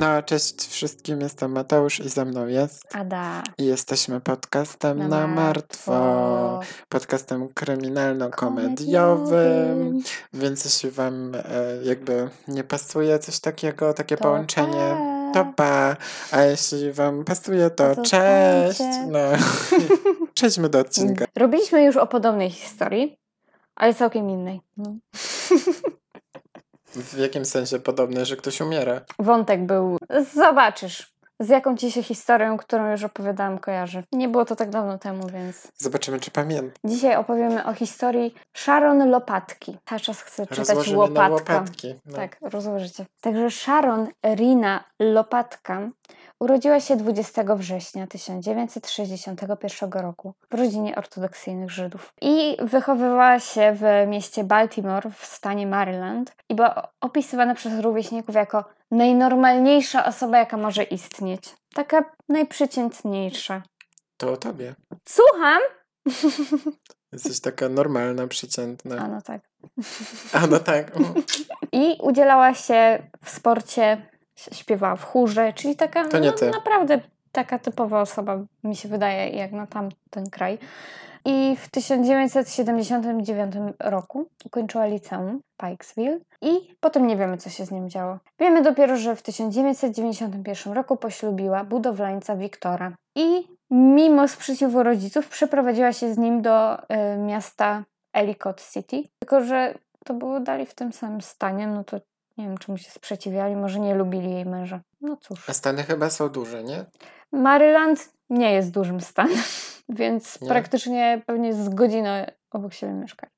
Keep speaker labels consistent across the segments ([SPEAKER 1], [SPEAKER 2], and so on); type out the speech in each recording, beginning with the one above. [SPEAKER 1] No, cześć wszystkim, jestem Mateusz i ze mną jest.
[SPEAKER 2] Ada.
[SPEAKER 1] I jesteśmy podcastem na, martwo. Podcastem kryminalno-komediowym. Więc jeśli wam e, jakby nie pasuje coś takiego, takie połączenie, to
[SPEAKER 2] tak.
[SPEAKER 1] pa. A jeśli wam pasuje, to,
[SPEAKER 2] To
[SPEAKER 1] cześć.
[SPEAKER 2] zostańcie.
[SPEAKER 1] No. Przejdźmy do odcinka.
[SPEAKER 2] Robiliśmy już o podobnej historii, ale całkiem innej.
[SPEAKER 1] No. W jakim sensie podobne, że ktoś umiera?
[SPEAKER 2] Wątek był. Zobaczysz. Z jaką ci się historią, którą już opowiadałam, kojarzy. Nie było to tak dawno temu, więc.
[SPEAKER 1] Zobaczymy, czy pamięta.
[SPEAKER 2] Dzisiaj opowiemy o historii Sharon Lopatki. Cały czas chcę czytać
[SPEAKER 1] Rozłożymy na
[SPEAKER 2] łopatka.
[SPEAKER 1] łopatki. No.
[SPEAKER 2] Tak, rozłożycie. Także Sharon Rina Lopatka urodziła się 20 września 1961 roku w rodzinie ortodoksyjnych Żydów i wychowywała się w mieście Baltimore w stanie Maryland i była opisywana przez rówieśników jako najnormalniejsza osoba, jaka może istnieć. Taka najprzeciętniejsza.
[SPEAKER 1] To o tobie.
[SPEAKER 2] Słucham!
[SPEAKER 1] Jesteś taka normalna,
[SPEAKER 2] A
[SPEAKER 1] przeciętna.
[SPEAKER 2] no tak.
[SPEAKER 1] A no tak. mm.
[SPEAKER 2] I udzielała się w sporcie, ś- śpiewała w chórze, czyli taka
[SPEAKER 1] To nie ty.
[SPEAKER 2] no, naprawdę taka typowa osoba, mi się wydaje, jak na tamten kraj. I w 1979 roku ukończyła liceum Pikesville i potem nie wiemy, co się z nim działo. Wiemy dopiero, że w 1991 roku poślubiła budowlańca Wiktora i mimo sprzeciwu rodziców przeprowadziła się z nim do y, miasta Ellicott City, tylko że to było dalej w tym samym stanie, no to nie wiem, czemu się sprzeciwiali, może nie lubili jej męża. No cóż.
[SPEAKER 1] A Stany chyba są duże, nie?
[SPEAKER 2] Maryland nie jest dużym stanem, więc
[SPEAKER 1] Nie?
[SPEAKER 2] praktycznie pewnie z godziny obok siebie mieszkali.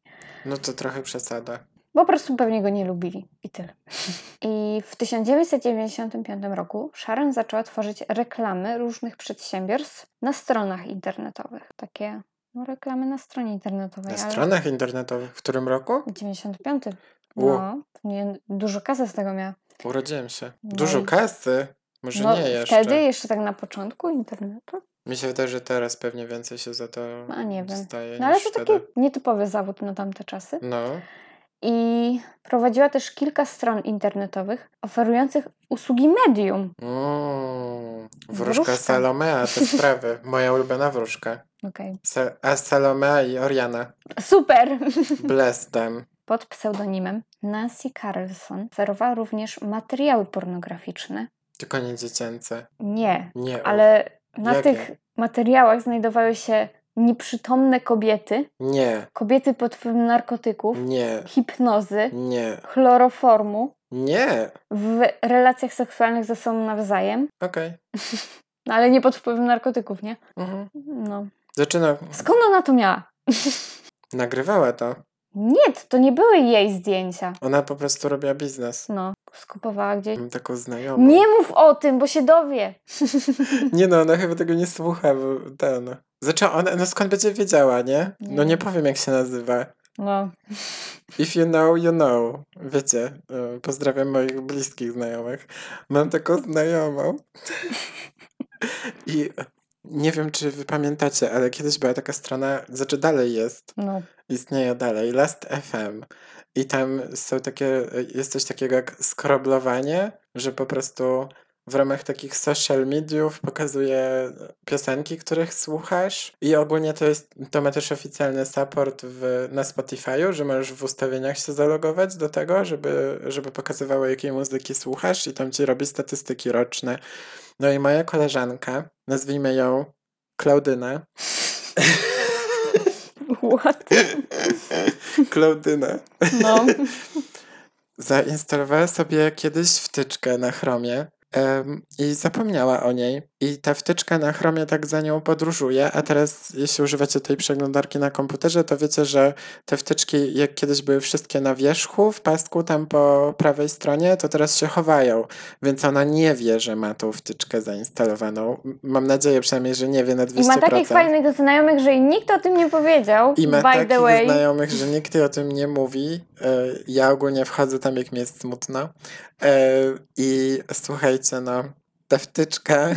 [SPEAKER 1] No to trochę przesada.
[SPEAKER 2] Bo po prostu pewnie go nie lubili i tyle. I w 1995 roku Sharon zaczęła tworzyć reklamy różnych przedsiębiorstw na stronach internetowych. Takie no, reklamy na stronie internetowej.
[SPEAKER 1] Na
[SPEAKER 2] ale-
[SPEAKER 1] stronach internetowych. W którym roku?
[SPEAKER 2] 95.
[SPEAKER 1] Ło.
[SPEAKER 2] No, nie, dużo kasy z tego miała.
[SPEAKER 1] Urodziłem się.
[SPEAKER 2] No
[SPEAKER 1] Dużo
[SPEAKER 2] i-
[SPEAKER 1] kasy. Może
[SPEAKER 2] No,
[SPEAKER 1] nie jeszcze.
[SPEAKER 2] wtedy jeszcze tak na początku internetu.
[SPEAKER 1] Mi się wydaje, że teraz pewnie więcej się za to
[SPEAKER 2] A nie wiem.
[SPEAKER 1] dostaje
[SPEAKER 2] No ale
[SPEAKER 1] niż
[SPEAKER 2] to
[SPEAKER 1] wtedy.
[SPEAKER 2] taki nietypowy zawód na tamte czasy.
[SPEAKER 1] No.
[SPEAKER 2] I prowadziła też kilka stron internetowych oferujących usługi medium.
[SPEAKER 1] Mm. Wróżka,
[SPEAKER 2] Wróżka.
[SPEAKER 1] Salomea, te sprawy. Moja ulubiona wróżka.
[SPEAKER 2] Okej.
[SPEAKER 1] Sa- a Salomea i Oriana.
[SPEAKER 2] Super!
[SPEAKER 1] Bless them.
[SPEAKER 2] Pod pseudonimem Nancy Carlson oferowała również materiały pornograficzne.
[SPEAKER 1] Tylko nie dziecięce.
[SPEAKER 2] Nie,
[SPEAKER 1] Nie. Ale...
[SPEAKER 2] ale na
[SPEAKER 1] Jakie?
[SPEAKER 2] tych materiałach znajdowały się nieprzytomne kobiety,
[SPEAKER 1] Nie.
[SPEAKER 2] kobiety pod wpływem narkotyków,
[SPEAKER 1] Nie.
[SPEAKER 2] hipnozy,
[SPEAKER 1] Nie.
[SPEAKER 2] chloroformu,
[SPEAKER 1] Nie.
[SPEAKER 2] w relacjach seksualnych ze sobą nawzajem,
[SPEAKER 1] Okej.
[SPEAKER 2] no ale nie pod wpływem narkotyków, nie?
[SPEAKER 1] Mhm.
[SPEAKER 2] No.
[SPEAKER 1] Zaczyna.
[SPEAKER 2] Skąd ona to miała?
[SPEAKER 1] Nagrywała to.
[SPEAKER 2] Nie, to- to nie były jej zdjęcia.
[SPEAKER 1] Ona po prostu robiła biznes.
[SPEAKER 2] No, skupowała gdzieś.
[SPEAKER 1] Mam taką znajomą.
[SPEAKER 2] Nie mów o tym, bo się dowie.
[SPEAKER 1] Nie no, ona chyba tego nie słucha, bo ten. Znaczy ona, no skąd będzie wiedziała, nie? No nie
[SPEAKER 2] Nie.
[SPEAKER 1] powiem jak się nazywa.
[SPEAKER 2] No,
[SPEAKER 1] If you know, you know. Wiecie, y, pozdrawiam moich bliskich znajomych. Mam taką znajomą. I nie wiem, czy wy pamiętacie, ale kiedyś była taka strona, znaczy dalej jest,
[SPEAKER 2] no.
[SPEAKER 1] istnieje dalej, Last FM. I tam są takie, jest coś takiego jak skroblowanie, że po prostu w ramach takich social mediów pokazuje piosenki, których słuchasz. I ogólnie to jest, to ma też oficjalny support w, na Spotify'u, że możesz w ustawieniach się zalogować do tego, żeby, żeby pokazywało, jakiej muzyki słuchasz i tam ci robi statystyki roczne. No i moja koleżanka, nazwijmy ją Klaudyna.
[SPEAKER 2] What?
[SPEAKER 1] Klaudyna.
[SPEAKER 2] No.
[SPEAKER 1] zainstalowała sobie kiedyś wtyczkę na Chromie em, i zapomniała o niej. I ta wtyczka na Chromie tak za nią podróżuje, a teraz jeśli używacie tej przeglądarki na komputerze, to wiecie, że te wtyczki, jak kiedyś były wszystkie na wierzchu, w pasku tam po prawej stronie, to teraz się chowają, więc ona nie wie, że ma tą wtyczkę zainstalowaną. M- Mam nadzieję przynajmniej, że nie wie na 200%.
[SPEAKER 2] I ma takich fajnych znajomych, że jej nikt o tym nie powiedział.
[SPEAKER 1] I ma
[SPEAKER 2] by the
[SPEAKER 1] takich
[SPEAKER 2] way.
[SPEAKER 1] znajomych, że nikt jej o tym nie mówi. E, Ja ogólnie wchodzę tam, jak mi jest smutno. E, I słuchajcie, no, ta wtyczka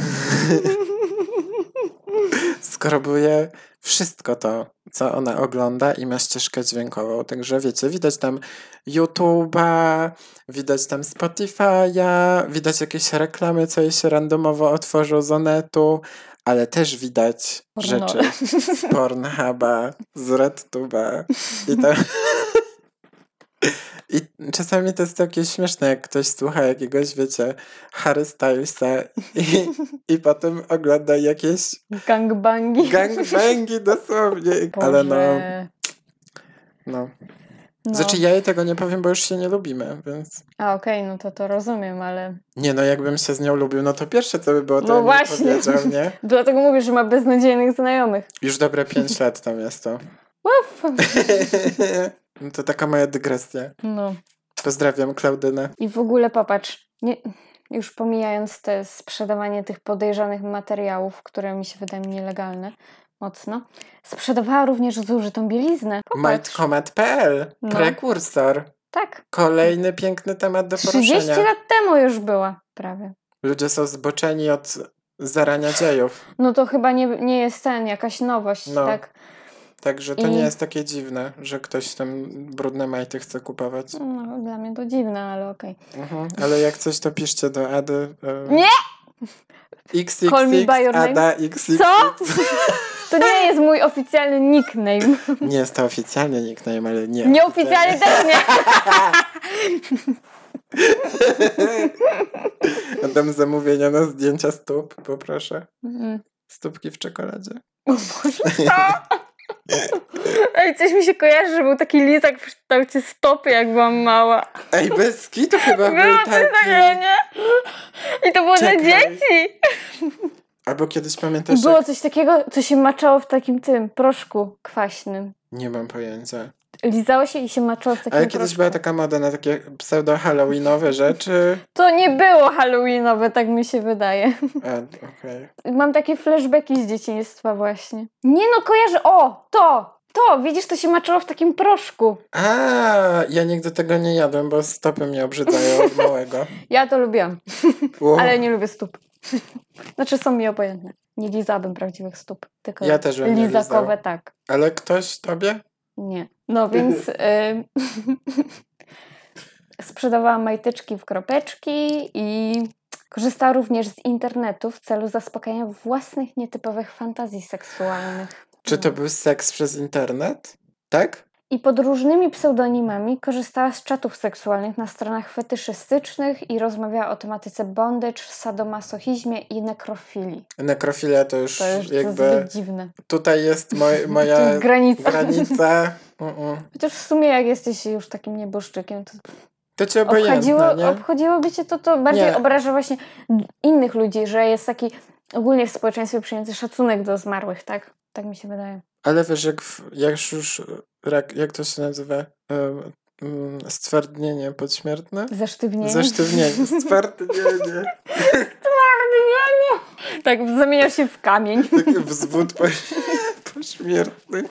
[SPEAKER 1] skrobluje wszystko to, co ona ogląda i ma ścieżkę dźwiękową. Także wiecie, widać tam YouTube'a, widać tam Spotify'a, widać jakieś reklamy, co jej się randomowo otworzą z Onetu, ale też widać
[SPEAKER 2] Porno.
[SPEAKER 1] rzeczy z Pornhuba, z RedTube'a i tam... I czasami to jest takie śmieszne, jak ktoś słucha jakiegoś, wiecie, Harry Stylesa i, i potem ogląda jakieś
[SPEAKER 2] Gangbangi.
[SPEAKER 1] gangbangi dosłownie. Ale no,
[SPEAKER 2] Boże.
[SPEAKER 1] no.
[SPEAKER 2] No.
[SPEAKER 1] Znaczy ja jej tego nie powiem, bo już się nie lubimy, więc...
[SPEAKER 2] A okej, no to to rozumiem, ale...
[SPEAKER 1] Nie no, jakbym się z nią lubił, no to pierwsze co by było, to
[SPEAKER 2] No
[SPEAKER 1] bym jej
[SPEAKER 2] właśnie.
[SPEAKER 1] powiedział, nie?
[SPEAKER 2] Dlatego mówię, że ma beznadziejnych znajomych.
[SPEAKER 1] Już dobre 5 lat tam jest to.
[SPEAKER 2] Uff.
[SPEAKER 1] No to taka moja dygresja.
[SPEAKER 2] No.
[SPEAKER 1] Pozdrawiam Klaudynę.
[SPEAKER 2] I w ogóle popatrz, nie, już pomijając te sprzedawanie tych podejrzanych materiałów, które mi się wydają nielegalne mocno, sprzedawała również zużytą bieliznę. Popatrz,
[SPEAKER 1] Majtkomat.pl,
[SPEAKER 2] No.
[SPEAKER 1] prekursor.
[SPEAKER 2] tak.
[SPEAKER 1] Kolejny piękny temat do
[SPEAKER 2] 30
[SPEAKER 1] poruszenia.
[SPEAKER 2] lat temu już była prawie.
[SPEAKER 1] Ludzie są zboczeni od zarania dziejów,
[SPEAKER 2] No to chyba nie, nie jest ten, jakaś nowość,
[SPEAKER 1] No.
[SPEAKER 2] tak?
[SPEAKER 1] także to
[SPEAKER 2] I-
[SPEAKER 1] nie jest takie dziwne, że ktoś tam brudne majty chce kupować.
[SPEAKER 2] No, dla mnie to dziwne, ale okej.
[SPEAKER 1] Mhm, ale jak coś, to piszcie do Ady. y,
[SPEAKER 2] Nie!
[SPEAKER 1] XXX,
[SPEAKER 2] Call me by your name.
[SPEAKER 1] Ada XX.
[SPEAKER 2] Co? To nie jest mój oficjalny nickname.
[SPEAKER 1] Nie jest to oficjalnie nickname, ale nie.
[SPEAKER 2] Nieoficjalny też nie.
[SPEAKER 1] Dam zamówienia na zdjęcia stóp, poproszę.
[SPEAKER 2] Mm.
[SPEAKER 1] Stópki w czekoladzie.
[SPEAKER 2] O Boże, co? Ej, coś mi się kojarzy, że był taki lizak w kształcie stopy, jak byłam mała.
[SPEAKER 1] Ej, bez kitu chyba był
[SPEAKER 2] Było coś takiego,
[SPEAKER 1] taki.
[SPEAKER 2] nie? I to było
[SPEAKER 1] Czekaj.
[SPEAKER 2] dla dzieci.
[SPEAKER 1] Albo kiedyś
[SPEAKER 2] I
[SPEAKER 1] pamiętasz,
[SPEAKER 2] było
[SPEAKER 1] jak...
[SPEAKER 2] coś takiego, co się maczało w takim tym proszku kwaśnym.
[SPEAKER 1] Nie mam pojęcia.
[SPEAKER 2] Lizało się i się maczało w takim
[SPEAKER 1] Ale kiedyś
[SPEAKER 2] proszku.
[SPEAKER 1] była tak- taka moda na takie pseudo-halloweenowe rzeczy.
[SPEAKER 2] To nie było halloweenowe, tak mi się wydaje.
[SPEAKER 1] A, okej.
[SPEAKER 2] Mam takie flashbacki z dzieciństwa właśnie. Nie no, kojarzę, o, to, to, widzisz, to się maczało w takim proszku.
[SPEAKER 1] A, ja nigdy tego nie jadłem, bo stopy mnie obrzydzają od małego.
[SPEAKER 2] Ja to lubiłam.
[SPEAKER 1] Uch.
[SPEAKER 2] Ale nie lubię stóp. Znaczy są mi obojętne. Nie lizałabym prawdziwych stóp, tylko
[SPEAKER 1] Ja też bym nie
[SPEAKER 2] lizakowe
[SPEAKER 1] lizał.
[SPEAKER 2] tak.
[SPEAKER 1] Ale ktoś tobie?
[SPEAKER 2] Nie. No więc y... sprzedawała majteczki w kropeczki i korzystała również z internetu w celu zaspokajania własnych nietypowych fantazji seksualnych.
[SPEAKER 1] Czy to był seks przez internet? Tak?
[SPEAKER 2] I pod różnymi pseudonimami korzystała z czatów seksualnych na stronach fetyszystycznych i rozmawiała o tematyce bondage, sadomasochizmie i nekrofilii.
[SPEAKER 1] Nekrofilia to już
[SPEAKER 2] To już to
[SPEAKER 1] jakby.
[SPEAKER 2] jest zbyt dziwne.
[SPEAKER 1] Tutaj jest moj,
[SPEAKER 2] To
[SPEAKER 1] moja
[SPEAKER 2] jest granica.
[SPEAKER 1] granica. Mm-mm.
[SPEAKER 2] Chociaż w sumie jak jesteś już takim nieboszczykiem, to
[SPEAKER 1] To cię
[SPEAKER 2] obchodziło,
[SPEAKER 1] obojętne, nie?
[SPEAKER 2] obchodziłoby cię to, to bardziej
[SPEAKER 1] Nie.
[SPEAKER 2] obraża właśnie innych ludzi, że jest taki ogólnie w społeczeństwie przyjęty szacunek do zmarłych, tak? Tak mi się wydaje.
[SPEAKER 1] Ale wiesz, jak, w- jak już. Jak, jak to się nazywa? Em, mm, Stwardnienie podśmiertne?
[SPEAKER 2] Zesztywnienie.
[SPEAKER 1] Zesztywnienie. Stwardnienie.
[SPEAKER 2] Zesztywnienie! Tak, zamieniał się w kamień.
[SPEAKER 1] Taki wzwód po, pośmiertny.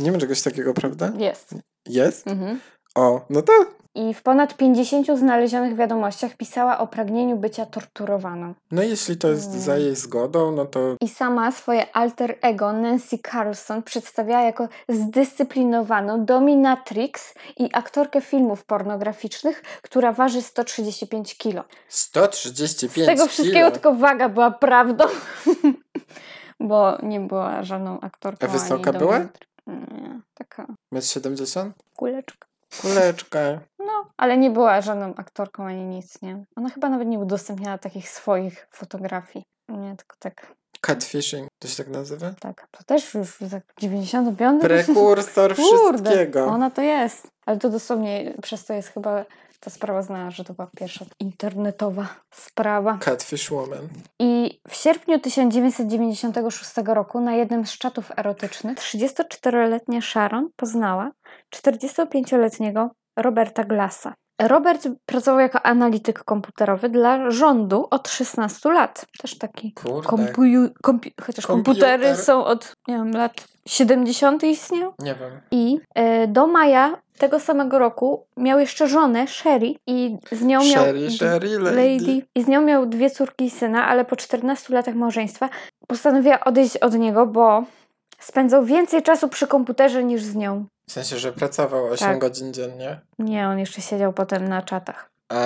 [SPEAKER 1] Nie ma czegoś takiego, prawda?
[SPEAKER 2] Jest.
[SPEAKER 1] Jest?
[SPEAKER 2] Mhm.
[SPEAKER 1] O, no to.
[SPEAKER 2] I w ponad 50 znalezionych wiadomościach pisała o pragnieniu bycia torturowaną.
[SPEAKER 1] No jeśli to jest za jej zgodą, no to
[SPEAKER 2] I sama swoje alter ego Nancy Carlson przedstawiała jako zdyscyplinowaną dominatrix i aktorkę filmów pornograficznych, która waży 135 kg.
[SPEAKER 1] 135
[SPEAKER 2] Z tego wszystkiego
[SPEAKER 1] kilo.
[SPEAKER 2] tylko waga była prawdą, bo nie była żadną aktorką.
[SPEAKER 1] A wysoka
[SPEAKER 2] ani
[SPEAKER 1] była?
[SPEAKER 2] dominatry- Nie, taka
[SPEAKER 1] Metr 70?
[SPEAKER 2] kuleczka.
[SPEAKER 1] Kuleczka.
[SPEAKER 2] No, ale nie była żadną aktorką ani nic, nie? Ona chyba nawet nie udostępniała takich swoich fotografii. Nie, tylko tak,
[SPEAKER 1] Catfishing. To się tak nazywa?
[SPEAKER 2] tak. To też już za 95
[SPEAKER 1] Prekursor wszystkiego.
[SPEAKER 2] No. ona to jest. Ale to dosłownie przez to jest chyba ta sprawa znana, że to była pierwsza internetowa sprawa.
[SPEAKER 1] Catfish woman.
[SPEAKER 2] I w sierpniu 1996 roku na jednym z czatów erotycznych 34-letnia Sharon poznała 45-letniego Roberta Glassa. Robert pracował jako analityk komputerowy dla rządu od 16 lat. Też taki
[SPEAKER 1] Kurde.
[SPEAKER 2] kompuju, kompi, chociaż komputery
[SPEAKER 1] Komputer.
[SPEAKER 2] są od nie wiem, lat 70. istnieją.
[SPEAKER 1] nie wiem.
[SPEAKER 2] I e, do maja tego samego roku miał jeszcze żonę Sherry i z nią miał
[SPEAKER 1] Sherry, Sherry, lady.
[SPEAKER 2] Lady. I z nią miał dwie córki i syna, ale po 14 latach małżeństwa postanowiła odejść od niego, bo Spędzał więcej czasu przy komputerze niż z nią.
[SPEAKER 1] W sensie, że pracował 8
[SPEAKER 2] Tak.
[SPEAKER 1] godzin dziennie.
[SPEAKER 2] Nie, on jeszcze siedział potem na czatach.
[SPEAKER 1] A,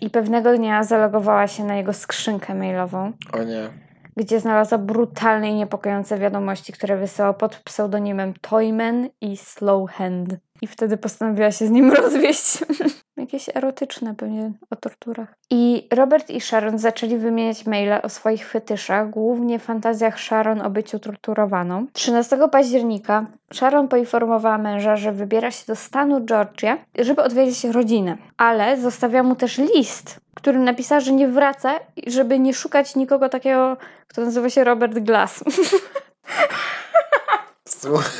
[SPEAKER 2] I pewnego dnia zalogowała się na jego skrzynkę mailową,
[SPEAKER 1] o nie.
[SPEAKER 2] gdzie znalazła brutalne i niepokojące wiadomości, które wysyłał pod pseudonimem Toyman i Slowhand. I wtedy postanowiła się z nim rozwieść. Jakieś erotyczne pewnie o torturach. I Robert i Sharon zaczęli wymieniać maile o swoich fetyszach, głównie fantazjach Sharon o byciu torturowaną. 13 października Sharon poinformowała męża, że wybiera się do stanu Georgia, żeby odwiedzić rodzinę, ale zostawia mu też list, w którym napisała, że nie wraca, i żeby nie szukać nikogo takiego, kto nazywa się Robert Glass.
[SPEAKER 1] Słuchaj.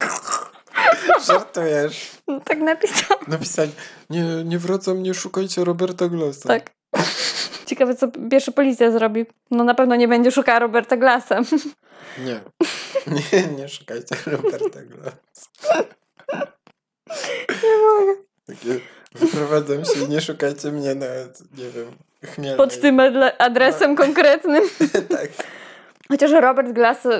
[SPEAKER 1] Żartujesz.
[SPEAKER 2] No, tak napisał.
[SPEAKER 1] Napisali, nie, nie wracam, nie szukajcie Roberta Glossa.
[SPEAKER 2] Tak. Ciekawe, co pierwszy policja zrobi. No na pewno nie będzie szukała Roberta Glassa.
[SPEAKER 1] Nie. Nie, nie szukajcie Roberta Glossa.
[SPEAKER 2] Nie mogę.
[SPEAKER 1] Takie, wyprowadzam się, nie szukajcie mnie nawet, nie wiem, chmielnej.
[SPEAKER 2] Pod tym adle- adresem konkretnym.
[SPEAKER 1] tak.
[SPEAKER 2] Chociaż Robert Glass y,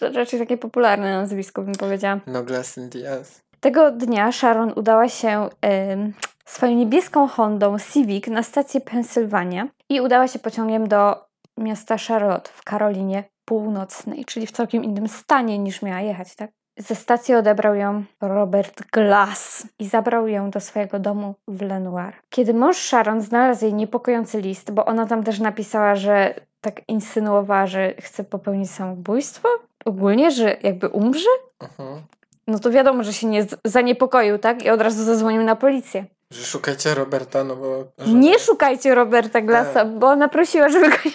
[SPEAKER 2] raczej takie popularne nazwisko, bym powiedziała.
[SPEAKER 1] No Glass in the ass.
[SPEAKER 2] Tego dnia Sharon udała się ym, swoją niebieską Hondą Civic na stację Pensylwania i udała się pociągiem do miasta Charlotte w Karolinie Północnej, czyli w całkiem innym stanie niż miała jechać, tak? Ze stacji odebrał ją Robert Glass i zabrał ją do swojego domu w Lenoir. Kiedy mąż Sharon znalazł jej niepokojący list, bo ona tam też napisała, że tak insynuowała, że chce popełnić samobójstwo, ogólnie, że jakby umrze,
[SPEAKER 1] Mhm.
[SPEAKER 2] no to wiadomo, że się nie z- zaniepokoił, tak? I od razu zadzwonił na policję.
[SPEAKER 1] Że szukajcie Roberta, no bo... że-
[SPEAKER 2] Nie szukajcie Roberta Glassa, bo ona prosiła, żeby go nie...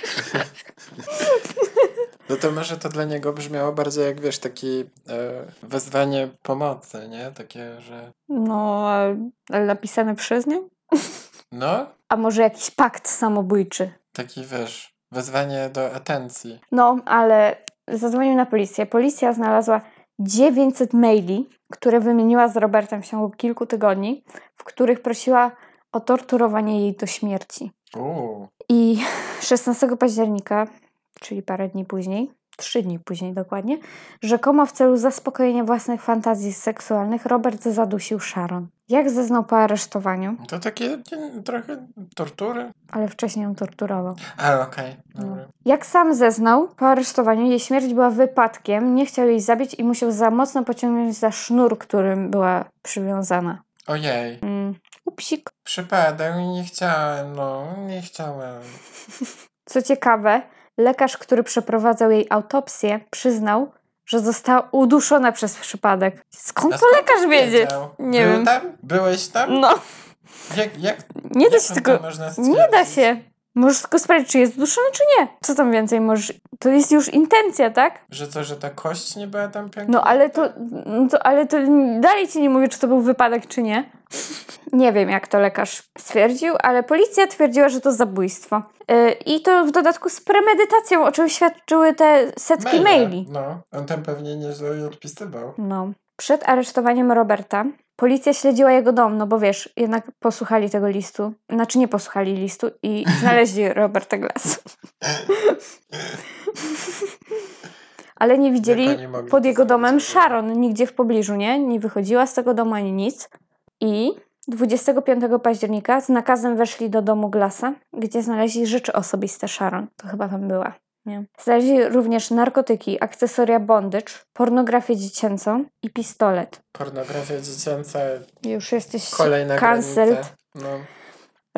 [SPEAKER 1] No to może to dla niego brzmiało bardziej jak, wiesz, takie e, wezwanie pomocy, nie? Takie, że
[SPEAKER 2] No, ale napisane przez nią?
[SPEAKER 1] no,
[SPEAKER 2] A może jakiś pakt samobójczy?
[SPEAKER 1] taki, wiesz, wezwanie do atencji.
[SPEAKER 2] No, ale zadzwonił na policję. Policja znalazła 900 maili, które wymieniła z Robertem w ciągu kilku tygodni, w których prosiła o torturowanie jej do śmierci.
[SPEAKER 1] Uuu,
[SPEAKER 2] I 16 października, czyli parę dni później, trzy dni później dokładnie, rzekomo w celu zaspokojenia własnych fantazji seksualnych Robert zadusił Sharon. Jak zeznał po aresztowaniu,
[SPEAKER 1] to takie nie, trochę tortury.
[SPEAKER 2] ale wcześniej ją torturował.
[SPEAKER 1] A, okej, dobra.
[SPEAKER 2] Jak sam zeznał, po aresztowaniu jej śmierć była wypadkiem, nie chciał jej zabić i musiał za mocno pociągnąć za sznur, którym była przywiązana.
[SPEAKER 1] Ojej,
[SPEAKER 2] Mm, upsik.
[SPEAKER 1] przypadek, nie chciałem, no, nie chciałem.
[SPEAKER 2] Co ciekawe, lekarz, który przeprowadzał jej autopsję, przyznał, że została uduszona przez przypadek.
[SPEAKER 1] A
[SPEAKER 2] Skąd to
[SPEAKER 1] skąd
[SPEAKER 2] lekarz wiedzie?
[SPEAKER 1] Wiedział.
[SPEAKER 2] Nie
[SPEAKER 1] Był
[SPEAKER 2] wiem.
[SPEAKER 1] tam? Byłeś tam?
[SPEAKER 2] No,
[SPEAKER 1] Jak, jak,
[SPEAKER 2] nie da
[SPEAKER 1] jak
[SPEAKER 2] się
[SPEAKER 1] to
[SPEAKER 2] tego.
[SPEAKER 1] można
[SPEAKER 2] Nie da
[SPEAKER 1] stwierdzić?
[SPEAKER 2] się. Możesz tylko sprawdzić, czy jest uduszony, czy nie. Co tam więcej możesz. To jest już intencja, tak?
[SPEAKER 1] Że co, że ta kość nie była tam piękna?
[SPEAKER 2] No ale to, no to, ale to dalej ci nie mówię, czy to był wypadek, czy nie. Nie wiem, jak to lekarz stwierdził, ale policja twierdziła, że to zabójstwo. Yy, I to w dodatku z premedytacją, o czym świadczyły te setki maili.
[SPEAKER 1] No, on tam pewnie nieźle jej odpisywał.
[SPEAKER 2] No. Przed aresztowaniem Roberta policja śledziła jego dom, no bo wiesz, jednak posłuchali tego listu. Znaczy nie posłuchali listu i znaleźli Roberta Glass. Ale nie widzieli
[SPEAKER 1] Jak oni mogli
[SPEAKER 2] pod
[SPEAKER 1] to
[SPEAKER 2] jego domem
[SPEAKER 1] zrobić?
[SPEAKER 2] Sharon, nigdzie w pobliżu, nie? Nie wychodziła z tego domu ani nic. I 25 października z nakazem weszli do domu Glassa, gdzie znaleźli rzeczy osobiste Sharon. To chyba tam była. Nie. Znaleźli również narkotyki, akcesoria bondage, pornografię dziecięcą i pistolet.
[SPEAKER 1] Pornografia dziecięca,
[SPEAKER 2] Już jesteś
[SPEAKER 1] kolejna
[SPEAKER 2] cancelled.
[SPEAKER 1] granica. No.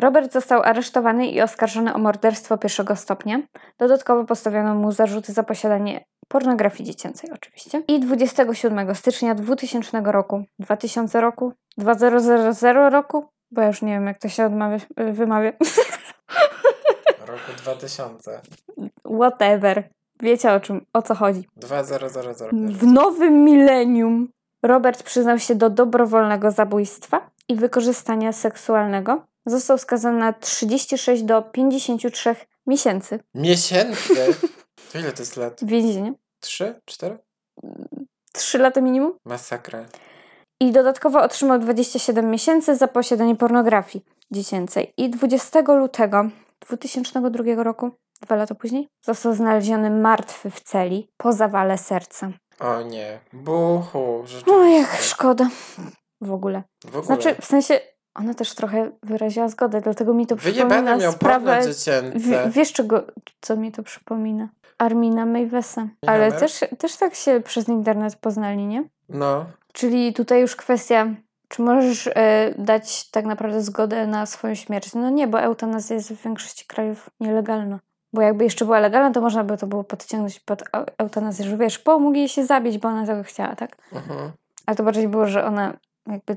[SPEAKER 2] Robert został aresztowany i oskarżony o morderstwo pierwszego stopnia. Dodatkowo postawiono mu zarzuty za posiadanie pornografii dziecięcej oczywiście. I 27 stycznia 2000 roku, 2000 roku, 2000 roku, bo ja już nie wiem jak to się odmawia, wymawia,
[SPEAKER 1] Roku 2000.
[SPEAKER 2] whatever. Wiecie o czym, o co chodzi.
[SPEAKER 1] 2000.
[SPEAKER 2] W nowym milenium Robert przyznał się do dobrowolnego zabójstwa i wykorzystania seksualnego. Został skazany na 36 do 53 miesięcy
[SPEAKER 1] Miesięcy? To ile to jest lat?
[SPEAKER 2] więzienia.
[SPEAKER 1] Trzy? Cztery?
[SPEAKER 2] 3 lata minimum.
[SPEAKER 1] Masakra.
[SPEAKER 2] I dodatkowo otrzymał 27 miesięcy za posiadanie pornografii dziecięcej. I 20 lutego 2002 roku dwa lata później, został znaleziony martwy w celi po zawale serca.
[SPEAKER 1] O nie. Buchu,
[SPEAKER 2] No jak
[SPEAKER 1] rzeczywiście.
[SPEAKER 2] szkoda. W ogóle.
[SPEAKER 1] W ogóle.
[SPEAKER 2] Znaczy, w sensie, ona też trochę wyraziła zgodę, dlatego mi to
[SPEAKER 1] Wyjebane
[SPEAKER 2] przypomina
[SPEAKER 1] miał porno
[SPEAKER 2] sprawę...
[SPEAKER 1] dziecięce.
[SPEAKER 2] Wie, wiesz, czego, co mi to przypomina? Armina Mejwesa.
[SPEAKER 1] Armina
[SPEAKER 2] Ale
[SPEAKER 1] Mej-
[SPEAKER 2] też, też tak się przez internet poznali, nie?
[SPEAKER 1] No.
[SPEAKER 2] Czyli tutaj już kwestia, czy możesz e, dać tak naprawdę zgodę na swoją śmierć? No nie, bo eutanazja jest w większości krajów nielegalna. Bo jakby jeszcze była legalna, to można by to było podciągnąć pod eu- eutanazję, że wiesz, pomógł jej się zabić, bo ona tego chciała, tak?
[SPEAKER 1] Mhm.
[SPEAKER 2] Ale to bardziej było, że ona jakby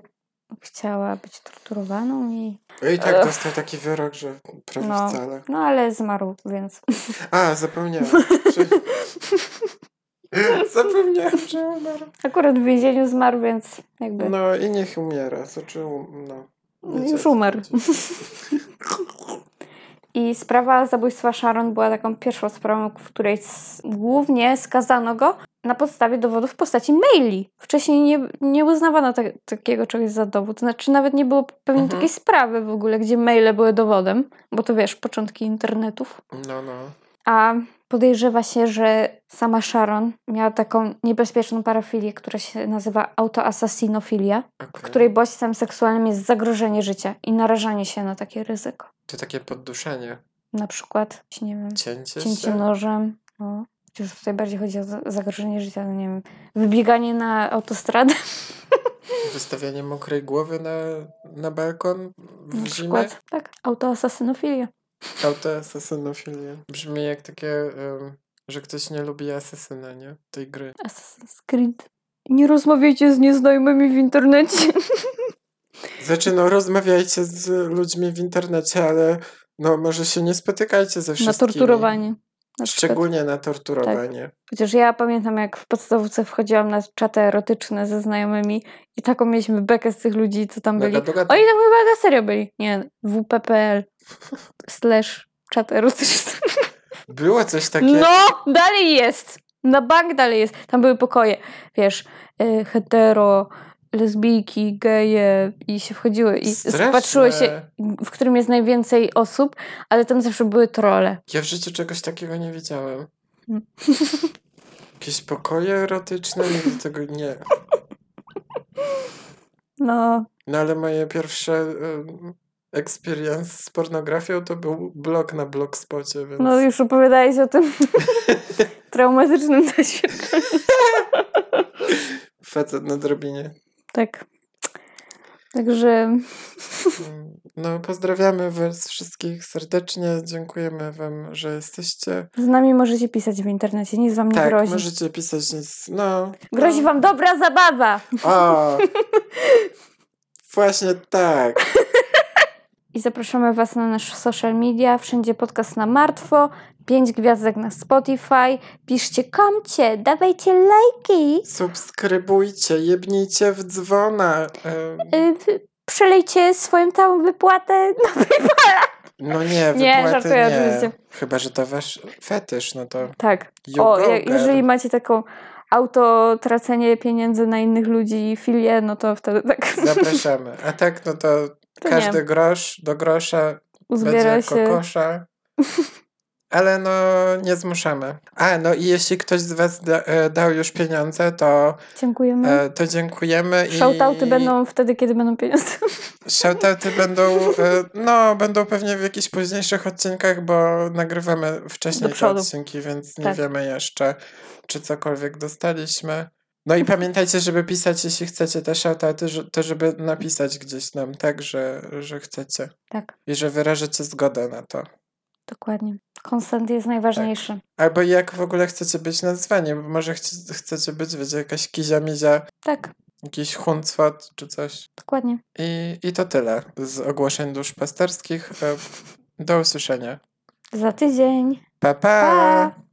[SPEAKER 2] chciała być torturowaną i...
[SPEAKER 1] I tak
[SPEAKER 2] Ech.
[SPEAKER 1] dostał taki wyrok, że prawie
[SPEAKER 2] No.
[SPEAKER 1] wcale.
[SPEAKER 2] No ale zmarł, więc...
[SPEAKER 1] A, zapomniałem. że- zapomniałem, że umarł.
[SPEAKER 2] Akurat w więzieniu zmarł, więc jakby...
[SPEAKER 1] No i niech umiera. Znaczy, um- no. Wiecie,
[SPEAKER 2] Już
[SPEAKER 1] co
[SPEAKER 2] umarł.
[SPEAKER 1] chodzi.
[SPEAKER 2] I sprawa zabójstwa Sharon była taką pierwszą sprawą, w której s- głównie skazano go na podstawie dowodów w postaci maili. Wcześniej nie, nie uznawano te, takiego czegoś za dowód. Znaczy nawet nie było pewnie
[SPEAKER 1] Mhm.
[SPEAKER 2] takiej sprawy w ogóle, gdzie maile były dowodem, bo to wiesz, początki internetów.
[SPEAKER 1] No, no.
[SPEAKER 2] A podejrzewa się, że sama Sharon miała taką niebezpieczną parafilię, która się nazywa autoasasinofilia,
[SPEAKER 1] Okay.
[SPEAKER 2] w której bodźcem seksualnym jest zagrożenie życia i narażanie się na takie ryzyko.
[SPEAKER 1] To takie podduszenie.
[SPEAKER 2] Na przykład, nie wiem,
[SPEAKER 1] Cięcie
[SPEAKER 2] cięcie
[SPEAKER 1] się.
[SPEAKER 2] nożem. No. Chociaż tutaj bardziej chodzi o za- zagrożenie życia, no nie wiem, wybieganie na autostradę
[SPEAKER 1] Wystawianie mokrej głowy na, na balkon w
[SPEAKER 2] na
[SPEAKER 1] zimę.
[SPEAKER 2] przykład. Tak, autoasasynofilia.
[SPEAKER 1] Autoasasynofilię. Brzmi jak takie, em, że ktoś nie lubi asesyna, nie? Tej gry.
[SPEAKER 2] Assassin's Creed. Nie rozmawiajcie z nieznajomymi w internecie.
[SPEAKER 1] Znaczy, no rozmawiajcie z ludźmi w internecie, ale no może się nie spotykajcie ze
[SPEAKER 2] Na
[SPEAKER 1] wszystkimi.
[SPEAKER 2] torturowanie. Na przykład. Tak.
[SPEAKER 1] Szczególnie na torturowanie.
[SPEAKER 2] Chociaż ja pamiętam, jak w podstawówce wchodziłam na czaty erotyczne ze znajomymi i taką mieliśmy bekę z tych ludzi, co tam byli.
[SPEAKER 1] Mega dogada-
[SPEAKER 2] Oni tam chyba na serio byli. Nie, wppl slash czat erotyczny.
[SPEAKER 1] Było coś takiego.
[SPEAKER 2] No, dalej jest. Na bank dalej jest. Tam były pokoje, wiesz, y, hetero, lesbijki, geje i się wchodziły i
[SPEAKER 1] Straszne.
[SPEAKER 2] patrzyło się, w którym jest najwięcej osób, ale tam zawsze były trole.
[SPEAKER 1] Ja w życiu czegoś takiego nie widziałem.
[SPEAKER 2] Mm.
[SPEAKER 1] Jakieś pokoje erotyczne, nigdy tego nie.
[SPEAKER 2] No,
[SPEAKER 1] No ale moje pierwsze em, experience z pornografią to był blog na blogspocie, więc.
[SPEAKER 2] no już opowiadałeś o tym traumatycznym doświadczeniu.
[SPEAKER 1] Facet na drobinie.
[SPEAKER 2] Tak. Także
[SPEAKER 1] Mm, No, pozdrawiamy Was wszystkich serdecznie. Dziękujemy Wam, że jesteście.
[SPEAKER 2] z nami możecie pisać w internecie, nic wam nie
[SPEAKER 1] Tak,
[SPEAKER 2] grozi.
[SPEAKER 1] możecie pisać nic. No.
[SPEAKER 2] Grozi wam dobra zabawa!
[SPEAKER 1] O! Właśnie tak.
[SPEAKER 2] I zapraszamy Was na nasze social media, wszędzie podcast na martwo, 5 gwiazdek na Spotify. Piszcie, komcie, dawajcie lajki,
[SPEAKER 1] Subskrybujcie, jebnijcie w dzwona. E, Em,
[SPEAKER 2] yy, przelejcie swoją całą wypłatę. No,
[SPEAKER 1] No nie,
[SPEAKER 2] Nie,
[SPEAKER 1] wypłaty
[SPEAKER 2] żartuję
[SPEAKER 1] nie.
[SPEAKER 2] oczywiście.
[SPEAKER 1] Chyba, że to wasz fetysz, no to
[SPEAKER 2] tak.
[SPEAKER 1] you
[SPEAKER 2] O,
[SPEAKER 1] go,
[SPEAKER 2] je,
[SPEAKER 1] girl.
[SPEAKER 2] jeżeli macie taką auto tracenie pieniędzy na innych ludzi i filię, no to wtedy tak
[SPEAKER 1] Zapraszamy. A tak, no to,
[SPEAKER 2] To nie.
[SPEAKER 1] każdy grosz do grosza
[SPEAKER 2] uzbiera
[SPEAKER 1] będzie
[SPEAKER 2] się.
[SPEAKER 1] kokosza. Ale no, nie zmuszamy. A, no i jeśli ktoś z was da, e, dał już pieniądze, to,
[SPEAKER 2] Dziękujemy.
[SPEAKER 1] e, to dziękujemy. i-
[SPEAKER 2] No. Shoutouty będą wtedy, kiedy będą pieniądze.
[SPEAKER 1] Shoutouty będą, e, no, będą pewnie w jakichś późniejszych odcinkach, bo nagrywamy wcześniej
[SPEAKER 2] Do
[SPEAKER 1] te
[SPEAKER 2] przodu.
[SPEAKER 1] odcinki, więc nie
[SPEAKER 2] Tak.
[SPEAKER 1] wiemy jeszcze, czy cokolwiek dostaliśmy. No i pamiętajcie, żeby pisać, jeśli chcecie te shoutouty, że- to żeby napisać gdzieś nam, tak, że, że chcecie
[SPEAKER 2] Tak,
[SPEAKER 1] i że wyrażycie zgodę na to.
[SPEAKER 2] dokładnie. Konsent jest najważniejszy.
[SPEAKER 1] Albo jak w ogóle chcecie być nazwani, bo może chcie, chcecie być, wiecie, jakaś kizia-mizia,
[SPEAKER 2] Tak,
[SPEAKER 1] jakiś huncwat czy coś.
[SPEAKER 2] dokładnie.
[SPEAKER 1] I, I to tyle z ogłoszeń duszpasterskich. E, Do usłyszenia.
[SPEAKER 2] Za tydzień.
[SPEAKER 1] Pa, pa!
[SPEAKER 2] Pa!